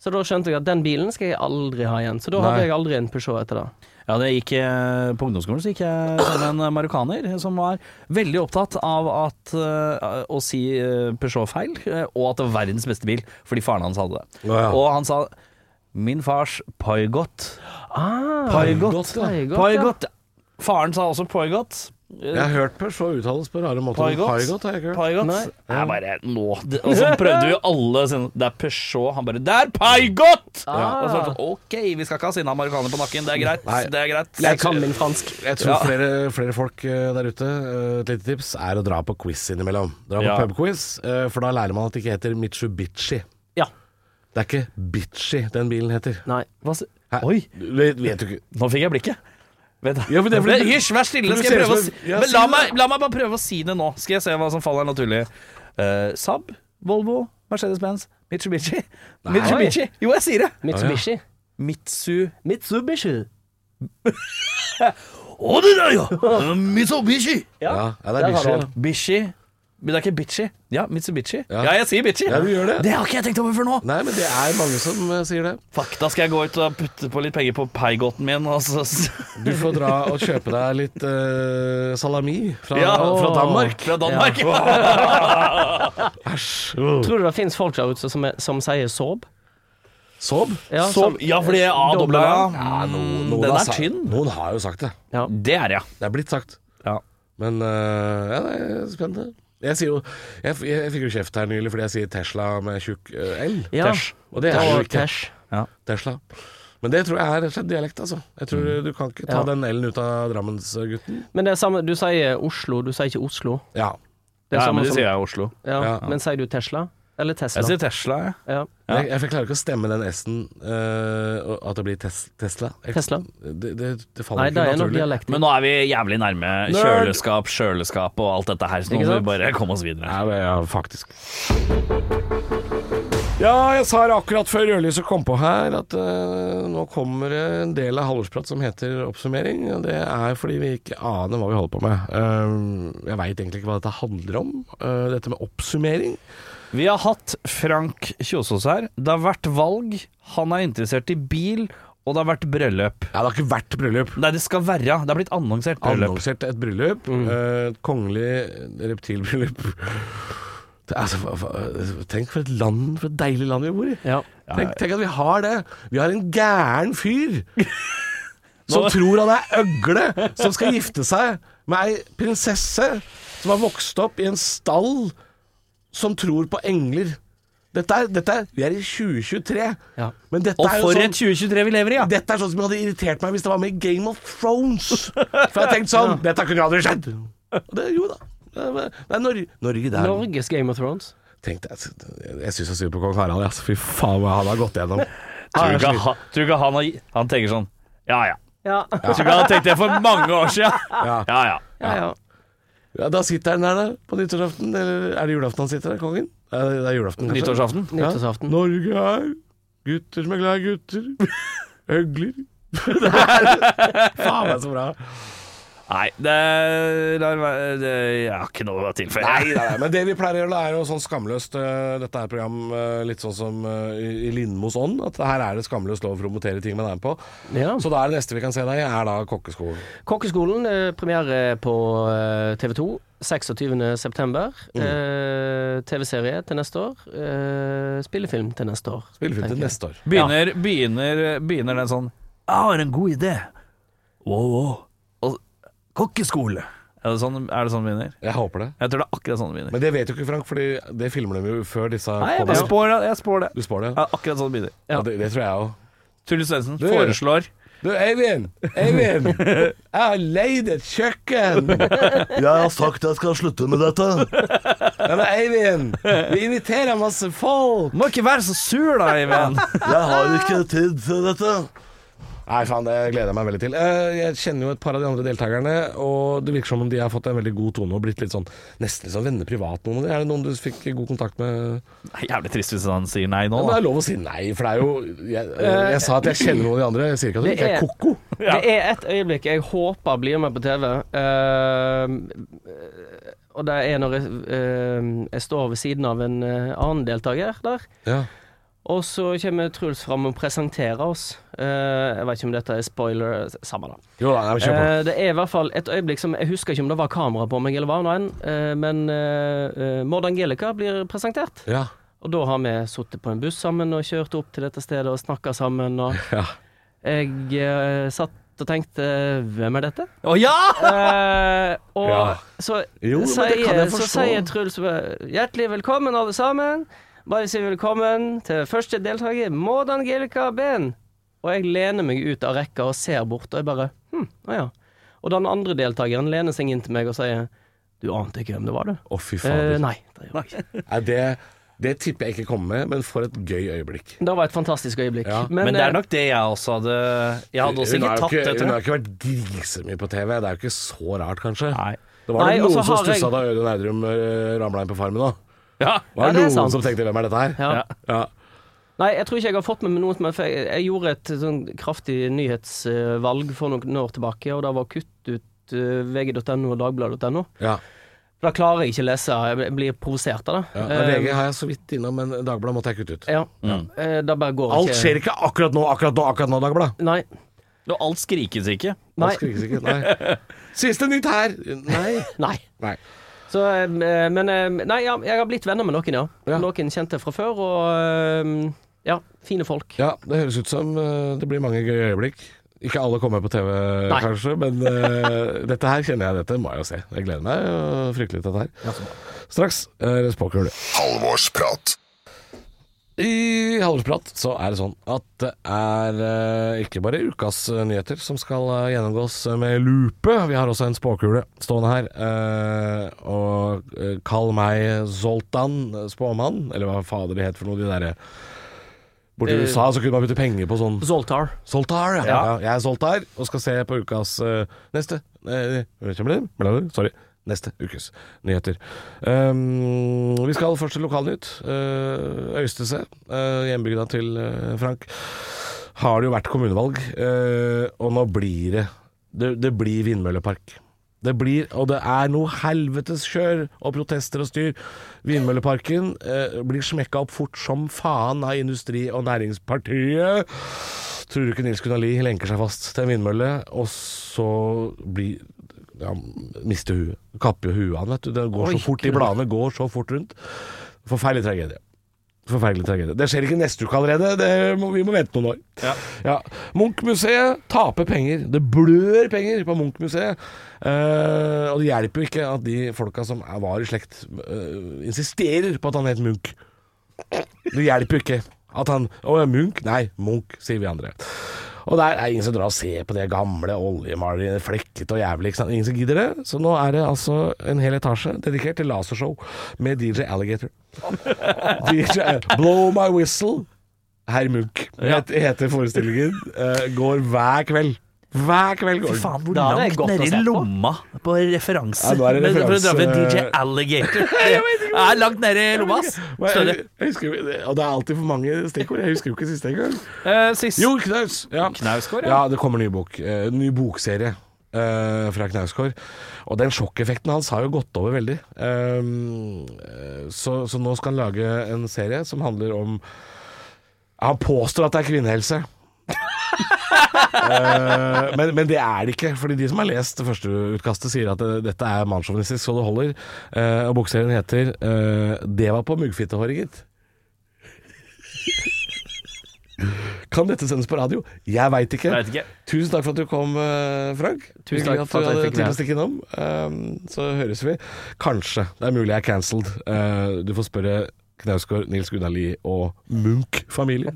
Så da skjønte jeg at den bilen skal jeg aldri ha igjen. Så da
Nei.
hadde jeg aldri en Peugeot etter det.
Ja, det gikk, eh, på ungdomsskolen så gikk jeg sammen med en eh, marokkaner som var veldig opptatt av at, eh, å si eh, Peugeot feil, eh, og at det var verdens beste bil, fordi faren hans hadde det.
Ja, ja.
Og han sa min fars Paigot.
Ah,
Paigot.
Peugeot, ja.
Paigot. Faren sa også Paigot.
Jeg har hørt Peugeot uttales på rare måter.
Paigot?
Paigot har jeg ikke hørt.
Paigot? Det er bare nå det- Og så prøvde vi alle sine Det er Peugeot. Han bare Det er Paigot! Og så, er det sånn, ok, vi skal ikke ha sinna amerikaner på nakken. Det er greit.
Nei.
Det er greit.
Jeg
Kan min fransk.
Jeg tror flere, flere folk eh, der ute, eh, et lite tips, er å dra på quiz innimellom. Dra på
Ja.
pubquiz, eh, for da lærer man at det ikke heter Mitsubishi.
Ja.
Det er ikke Bitchy den bilen heter.
Nei.
Hva s-
Hæ?
Oi,
Du vet, vet du ikke
nå fikk jeg blikket. Vet du.
Ja, men det er fordi-
Men Hysj, vær stille.
for du
Skal
ser
jeg prøve å
ut som-
si
Ja,
Men
si
la
det.
meg, la meg bare prøve å si det nå. Skal jeg se hva som faller naturlig. Eh, Saab, Volvo, Mercedes-Benz, Mitsubishi. Mitsubishi. Jo, jeg sier det.
Mitsubishi.
Mitsu...
Mitsubishi.
Å, det der, ja! Mitsubishi.
Ja, ja, det
der
er
har du
Bitchy.
den.
Bishi Men det er ikke bitchy. Ja, Mitsubishi.
Ja.
Ja, jeg sier bitchy.
Ja, du gjør det.
Det har ikke jeg tenkt over før nå.
Nei, men det er mange som eh, sier det.
Fuck, da skal jeg gå ut og putte på litt penger på paigoten min. Og så,
Du får dra og kjøpe deg litt eh, salami fra,
Ja.
fra Danmark.
Fra Danmark.
Tror du det fins folk der ute som, er, som sier sob?
Sob.
Ja,
Så, ja, fordi jeg er A
Doble
doble A.
A.
Ja, no, noen
Den
har
er
sa-
tynn.
Noen har jo sagt det.
Det er jeg.
Det er blitt sagt.
Ja.
Men eh, ja, det er spennende. Jeg sier jo Jeg, f- jeg fikk jo kjeft her nylig fordi jeg sier Tesla med tjukk eh, L.
Ja.
Tesh.
Og det er jo
Og
ikke
Tesh.
Tesla. Men det tror jeg er rett og slett dialekt, altså. Jeg tror Du kan ikke ta
Mm. Ja.
den L-en ut av Drammensgutten.
Men det er samme, du sier Oslo, du sier ikke Oslo.
Ja.
Det er
Ja,
samme
men det
som-
sier jeg i Oslo.
ja.
Ja.
Men sier du Tesla? Eller Tesla?
Jeg sier Tesla, jeg.
ja.
Jeg, jeg klarer ikke å stemme den S-en, eh, og at det blir tes Tesla. Jeg,
Tesla?
Det, det, det faller
Nei, det
ikke
er noe
naturlig.
dialekt.
Men nå er vi jævlig nærme
Nerd.
kjøleskap, kjøleskap og alt dette her, så nå
Ikke
må
sant?
vi bare komme oss videre.
Ja, men, ja, faktisk. Ja, jeg sa det akkurat før rødlyset kom på her, at eh, nå kommer det en del av Halvorsprat som heter oppsummering. og Det er fordi vi ikke aner hva vi holder på med. Eh, jeg veit egentlig ikke hva dette handler om, eh, dette med oppsummering.
Vi har hatt Frank Kjosås her. Det har vært valg, han er interessert i bil, og det har vært bryllup.
Ja, det har ikke vært bryllup.
Nei, det skal være. Det har blitt annonsert bryllup.
Annonsert et bryllup. eh, Et kongelig reptilbryllup. Det er, altså, hva- hva- tenk for et land, for et deilig land vi bor i.
Ja.
Tenk, tenk at vi har det. Vi har en gæren fyr som tror han er øgle, som skal gifte seg med ei prinsesse som har vokst opp i en stall som tror på engler. Dette er, dette er, vi er i 2023,
Ja.
men dette
Og
er jo
for
sånn
et 2023 vi lever i, ja!
dette er sånn som hadde irritert meg hvis det var med i Game of Thrones. For jeg tenkte sånn Dette kunne jo aldri skjedd. Og det jo da. Det er- det er Norge, Norge der.
Norges Game of Thrones.
Tenkte jeg jeg syns så synd på kong Harald. Altså. Fy faen hva han har gått gjennom.
Tror du ikke, han- tror du ikke han, har, han tenker sånn Ja ja.
Ja.
Tror du ikke han tenkte det for mange år siden?
Ja.
Ja ja.
ja, ja.
Ja, da sitter han der da, på nyttårsaften. Eller er det julaften han sitter der, kongen? Ja, Det er julaften, kanskje.
Nyttårsaften.
Ja.
Nyttårsaften.
Norge er gutter som er glad i gutter. Øgler. det er faen meg så bra.
Nei, det, lar være- det Jeg har ikke noe å tilføye.
Nei, nei, nei, men det vi pleier å gjøre da, er jo sånn skamløst eh, Dette er et program eh, litt sånn som eh, i i Lindmos ånd. At her er det skamløst lov å promotere ting man er med på.
Ja.
Så da er det neste vi kan se deg i, er da kokkeskolen.
Kokkeskolen eh, premiere på eh, TV 2 26.9.
Mm.
Eh, TV-serie til neste år. Eh, spillefilm til neste år.
Spillefilm til
tenker jeg.
neste år.
Begynner, begynner, begynner den sånn Jeg har en god idé. Wow, wow. Og, kokkeskole. Er det sånn er det sånn det begynner?
Jeg håper det.
Jeg tror det er akkurat sånn det begynner.
Men det vet jo ikke Frank, Fordi det filmer de jo før disse
Nei, jeg,
kommer.
bare spår, det, jeg spår det.
Du spår det?
Ja, akkurat sånn det begynner.
Ja, det, det tror jeg òg.
Truls Svendsen
Du-
foreslår
Du, Eivind! Eivind! Jeg har leid et kjøkken! Jeg har sagt jeg skal slutte med dette. Ja, men Eivind, vi inviterer masse folk!
Må ikke være så sur, da, Even.
Jeg har ikke tid til dette. Nei, faen, det gleder jeg meg veldig til. Eh, Jeg kjenner jo et par av de andre deltakerne, og det virker som om de har fått en veldig god tone og blitt litt sånn nesten litt sånn venner privat, noen av de. Er det noen du fikk god kontakt med?
Det er Jævlig trist hvis han sier nei nå,
Men det
da.
er lov å si nei, for det er jo Jeg,
Eh,
jeg sa at jeg kjenner noen av de andre, jeg sier ikke at de
Det
ikke er
er-
ko-ko.
Det er et øyeblikk jeg håper blir med på TV. eh, og det er når jeg, eh, jeg står ved siden av en eh, annen deltaker der.
Ja.
Og så kommer Truls fram og presenterer oss. Eh, jeg vet ikke om dette er spoiler. Samme da.
Jo da, nei, men kjør på.
Eh, det er i hvert fall et øyeblikk som Jeg husker ikke om det var kamera på meg, eller hva nå enn, eh, men eh, eh, Maud Angelica blir presentert.
Ja.
Og da har vi sittet på en buss sammen og kjørt opp til dette stedet og snakka sammen. Og
ja.
jeg eh, satt og tenkte 'hvem er dette?'
Å ja!
Eh, og
Ja.
så,
Jo, men
sier,
det kan jeg
så
forstå.
sier Truls eh, 'hjertelig velkommen, alle sammen'. Bare si velkommen til første deltaker, Maud Angelica Behn. Og jeg lener meg ut av rekka og ser bort, og jeg bare hm, å ja. Og den andre deltakeren lener seg inn til meg og sier 'du ante ikke hvem det var, du'.
Å, fy
Eh,
fader.
nei. Det gjorde jeg ikke.
Nei, det, det tipper jeg ikke kommer med, men for et gøy øyeblikk.
Det var et fantastisk øyeblikk.
Ja.
Men, det
eh,
er nok det jeg også hadde Jeg hadde også
Hun har jo
ikke tatt det,
Hun
tror
har
jeg.
ikke vært grisemye på TV. Det er jo ikke så rart, kanskje.
Nei.
Det var
Nei,
nok
og så
noen som
har jeg-
stussa da Audun Eidrum eh, ramla inn på Farmen òg.
Ja.
Det var
Ja, det er
noen
sant.
som tenkte 'hvem er dette her'?
Ja.
Ja.
Ja.
Nei, jeg tror ikke jeg har fått med meg noe som jeg fikk. Jeg gjorde et sånn kraftig nyhetsvalg for noen år tilbake, og det var å kutte ut eh, vg.no og dagbladet.no.
Ja.
Da klarer jeg ikke å lese, jeg blir provosert av det.
Ja.
Eh,
VG har jeg så vidt innom, men Dagbladet måtte jeg kutte ut.
ja. Eh, Da bare går
Alt
ikke
skjer ikke akkurat nå, akkurat nå, akkurat nå, Dagbladet.
Nei.
Og alt skrikes ikke.
Alt
Nei.
skrikes ikke. Nei. Siste nytt her! Nei.
Nei.
Nei.
Så, eh, men eh, Nei, ja, jeg har blitt venner med noen, ja.
Ja.
Noen kjente fra før, og eh, ja, fine folk.
Ja, det høres ut som eh, det blir mange gøye øyeblikk. Ikke alle kommer på TV,
Nei.
kanskje, men eh, dette her kjenner jeg. Dette må jeg jo se. Jeg gleder meg eh, fryktelig til dette her. Straks uh, spåkule.
Halvorsprat.
I Halvorsprat så er det sånn at det er eh, ikke bare ukas eh, nyheter som skal eh, gjennomgås med lupe. Vi har også en spåkule stående her. eh, og eh, kall meg Zoltan eh, spåmann, eller hva fader de het for noe, de derre Borti
Eh,
USA så kunne man bytte penger på sånn
Zoltar.
Soltar, ja. ja. Jeg er Soltar og skal se på ukas eh, neste eh, kommer det? Blablabla, Sorry. Neste ukes nyheter. Um, vi skal først til lokalnytt. Uh, Øystese, eh, hjembygda til eh, Frank, har det jo vært kommunevalg. eh, og nå blir det Det, det blir vindmøllepark. Det blir, og det er noe helvetes kjør og protester og styr. Vindmølleparken eh, blir smekka opp fort som faen av Industri- og Næringspartiet. Tror du ikke Nils Gunnar Lie lenker seg fast til en vindmølle, og så blir ja, mister huet. Kapper jo huet han, vet du. Det går så fort, de bladene går så fort rundt. Forferdelig tragedie. Forferdelig tragedie. Det skjer ikke neste uke allerede, det må, vi må vente noen år. Ja. Munch-museet taper penger. Det blør penger på Munch-museet. Eh, og det hjelper jo ikke at de folka som er- var i slekt, eh, insisterer på at han het Munch. Det hjelper jo ikke at han Å ja, Munch? Nei, Munch, sier vi andre. Og der er ingen som drar og ser på det gamle oljemaleriet, flekkete og jævlig. Ikke sant? Ingen som gidder det. Så nå er det altså en hel etasje dedikert til lasershow med DJ Alligator. DJ Blow My Whistle, herr Munch, het, heter forestillingen. eh, går hver kveld. Hver kveld går den.
Faen, hvor
Da er
langt
det godt å
nedi
se på.
lomma på referanse
Ja, nå er det
Men For å dra
referanse-
frem DJ Alligator. Det er langt nedi lomma, ass.
Og
Stødig.
Jeg, jeg husker, jo- og det er alltid for mange stikkord. Jeg husker jo ikke siste engang.
Eh, sist
Jo, Knaus. Ja.
Knausgård, ja.
ja. det kommer ny bok. Eh, ny bokserie eh, fra Knausgård. Og den sjokkeffekten hans har jo gått over veldig. Ehm, eh, så, så nå skal han lage en serie som handler om Han påstår at det er kvinnehelse. Eh, men, men det er det ikke, Fordi de som har lest det første utkastet, sier at eh, dette er mannssjåvinistisk så det holder. Eh, og bokserien heter eh, 'Det var på muggfittehåret', gitt. Kan dette sendes på radio? Jeg veit ikke.
Vet ikke.
Tusen takk for at du kom, eh, Frank.
Tusen
Hyggelig
takk for at jeg
hadde tid
fikk
til
være
å stikke innom. Um, så høres vi. Kanskje. Det er mulig jeg er cancelled. Eh, du får spørre Knausgård, Nils Gunnar Lie og Munch-familien.